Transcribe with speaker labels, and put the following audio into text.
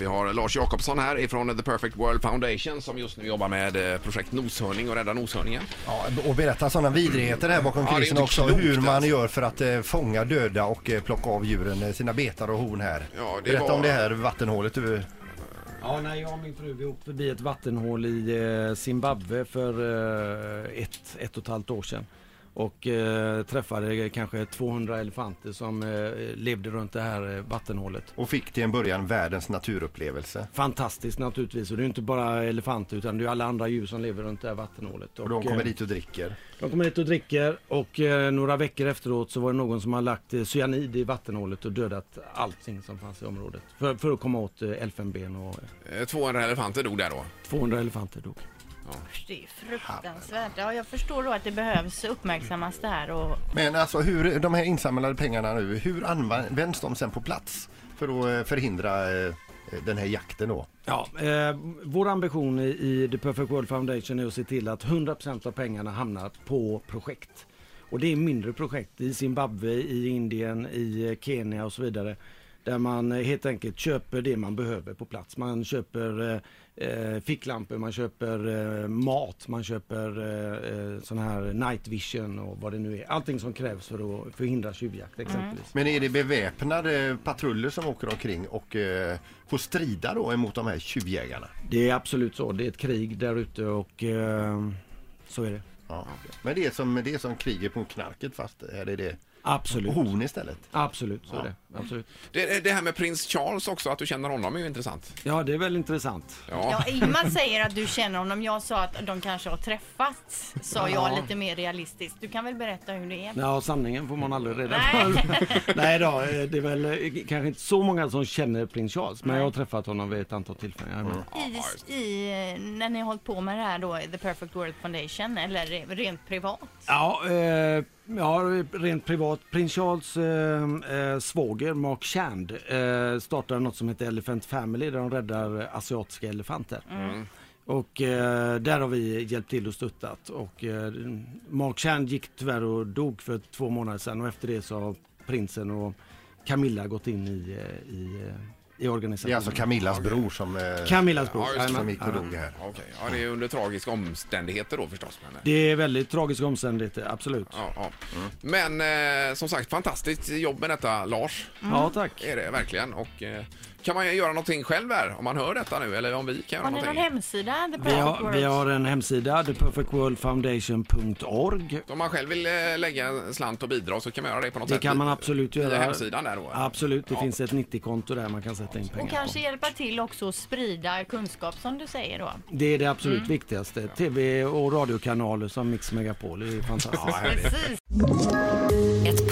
Speaker 1: Vi har Lars Jakobsson här ifrån The Perfect World Foundation som just nu jobbar med eh, projekt Noshörning och Rädda Noshörningen.
Speaker 2: Ja, och berätta sådana vidrigheter här bakom
Speaker 1: Ja, det är
Speaker 2: kulisserna
Speaker 1: inte
Speaker 2: också.
Speaker 1: klokt,
Speaker 2: hur man
Speaker 1: alltså.
Speaker 2: gör för att eh, fånga döda och eh, plocka av djuren eh, sina betar och horn här.
Speaker 1: Ja, det
Speaker 2: berätta
Speaker 1: var-
Speaker 2: om det här vattenhålet eh, du...
Speaker 3: Ja, när jag och min fru vi åkte förbi ett vattenhål i eh, Zimbabwe för eh, ett, ett och ett halvt år sedan och eh, träffade kanske 200 elefanter som eh, levde runt det här eh, vattenhålet.
Speaker 2: Och fick till en början världens naturupplevelse.
Speaker 3: Fantastiskt naturligtvis och det är ju inte bara elefanter utan det är ju alla andra djur som lever runt det här vattenhålet.
Speaker 2: Och de kommer
Speaker 3: eh,
Speaker 2: dit och dricker.
Speaker 3: de kommer hit och dricker och eh, några veckor efteråt så var det någon som har lagt eh, cyanid i vattenhålet och dödat allting som fanns i området för, för att komma åt eh, elfenben och eh,
Speaker 1: Eh, 200 elefanter dog där då.
Speaker 3: 200 elefanter dog.
Speaker 4: Usch, det är ju fruktansvärt. Ja, jag förstår då att det behövs uppmärksammas det här och
Speaker 2: Men alltså hur, de här insamlade pengarna nu, hur används de sen på plats för att eh, förhindra eh, den här jakten då?
Speaker 3: Ja, eh, vår ambition i, i The Perfect World Foundation är att se till att 100% av pengarna hamnar på projekt. Och det är mindre projekt i Zimbabwe, i Indien, i eh, Kenya och så vidare. Där man eh, helt enkelt köper det man behöver på plats. Man köper eh, eh, ficklampor, man köper eh, mat, man köper eh, eh, sån här night vision och vad det nu är. Allting som krävs för att förhindra tjuvjakt exempelvis.
Speaker 2: Men är det beväpnade patruller som åker omkring och eh, får strida då emot de här tjuvjägarna?
Speaker 3: Det är absolut så. Det är ett krig där ute och eh, så är det.
Speaker 2: Ja. Men det är som, det är som kriget mot knarket fast här är det
Speaker 3: Absolut.
Speaker 2: horn istället.
Speaker 3: Absolut, så är det. Absolut.
Speaker 1: Det, det här med prins Charles också, att du känner honom är ju intressant.
Speaker 3: Ja, det är väl intressant.
Speaker 1: Ja,
Speaker 4: ja, Ingmar säger att du känner honom. Jag sa att de kanske har träffats, sa jag lite mer realistiskt. Du kan väl berätta hur det är?
Speaker 3: Ja, sanningen får man aldrig reda på.
Speaker 4: Nej.
Speaker 3: Nej då, eh, det är väl eh, kanske inte så många som känner prins Charles, men jag har träffat honom vid ett antal tillfällen. Jag är med.
Speaker 4: I, i, när ni har hållit på med det här då, The Perfect World Foundation, eller rent privat?
Speaker 3: Ja, eh, ja, rent privat. Prins Charles eh, eh, svåger, Mark Chand, eh, startade något som heter Elephant Family där de räddar eh, asiatiska elefanter. Och eh, där har vi hjälpt till och stöttat. Och, eh, Mark Chand gick tyvärr och dog för två månader sedan och efter det så har prinsen och Camilla gått in i, eh, i, eh,
Speaker 2: Det
Speaker 3: i
Speaker 2: är
Speaker 3: organisationen.
Speaker 2: alltså Camillas bror som, eh,
Speaker 3: Camillas bror.
Speaker 1: Ja, just det.
Speaker 2: som
Speaker 3: Jajamän.
Speaker 2: gick och dog här.
Speaker 1: ja, okej. ja, det är under tragiska omständigheter då förstås. Men, eh,
Speaker 3: Det Mm. är väldigt tragiska omständigheter, absolut.
Speaker 1: ja, ja. men eh, som sagt, fantastiskt jobb med detta Lars.
Speaker 3: Ja, tack.
Speaker 1: är det verkligen. Och, eh, kan man göra någonting själv här om man hör detta nu eller om vi kan göra
Speaker 4: Har ni någon
Speaker 1: någonting?
Speaker 4: hemsida? The
Speaker 3: Vi
Speaker 4: Perfect
Speaker 3: har,
Speaker 4: World?
Speaker 3: vi har en hemsida, theperfectworldfoundation.org.
Speaker 1: Om man själv vill eh, lägga en slant och bidra så kan man göra det på något
Speaker 3: Det
Speaker 1: sätt.
Speaker 3: kan man absolut
Speaker 1: Via
Speaker 3: göra.
Speaker 1: hemsidan där då?
Speaker 3: Absolut, det
Speaker 1: Ja.
Speaker 3: finns ett 90-konto där man kan sätta in pengar
Speaker 4: Och
Speaker 3: på.
Speaker 4: kanske hjälpa till också att sprida kunskap som du säger då.
Speaker 3: Det är det absolut
Speaker 4: Mm.
Speaker 3: viktigaste. TV och radiokanaler som Mix Megapol, det är fantastiskt.
Speaker 4: Precis.
Speaker 5: Ett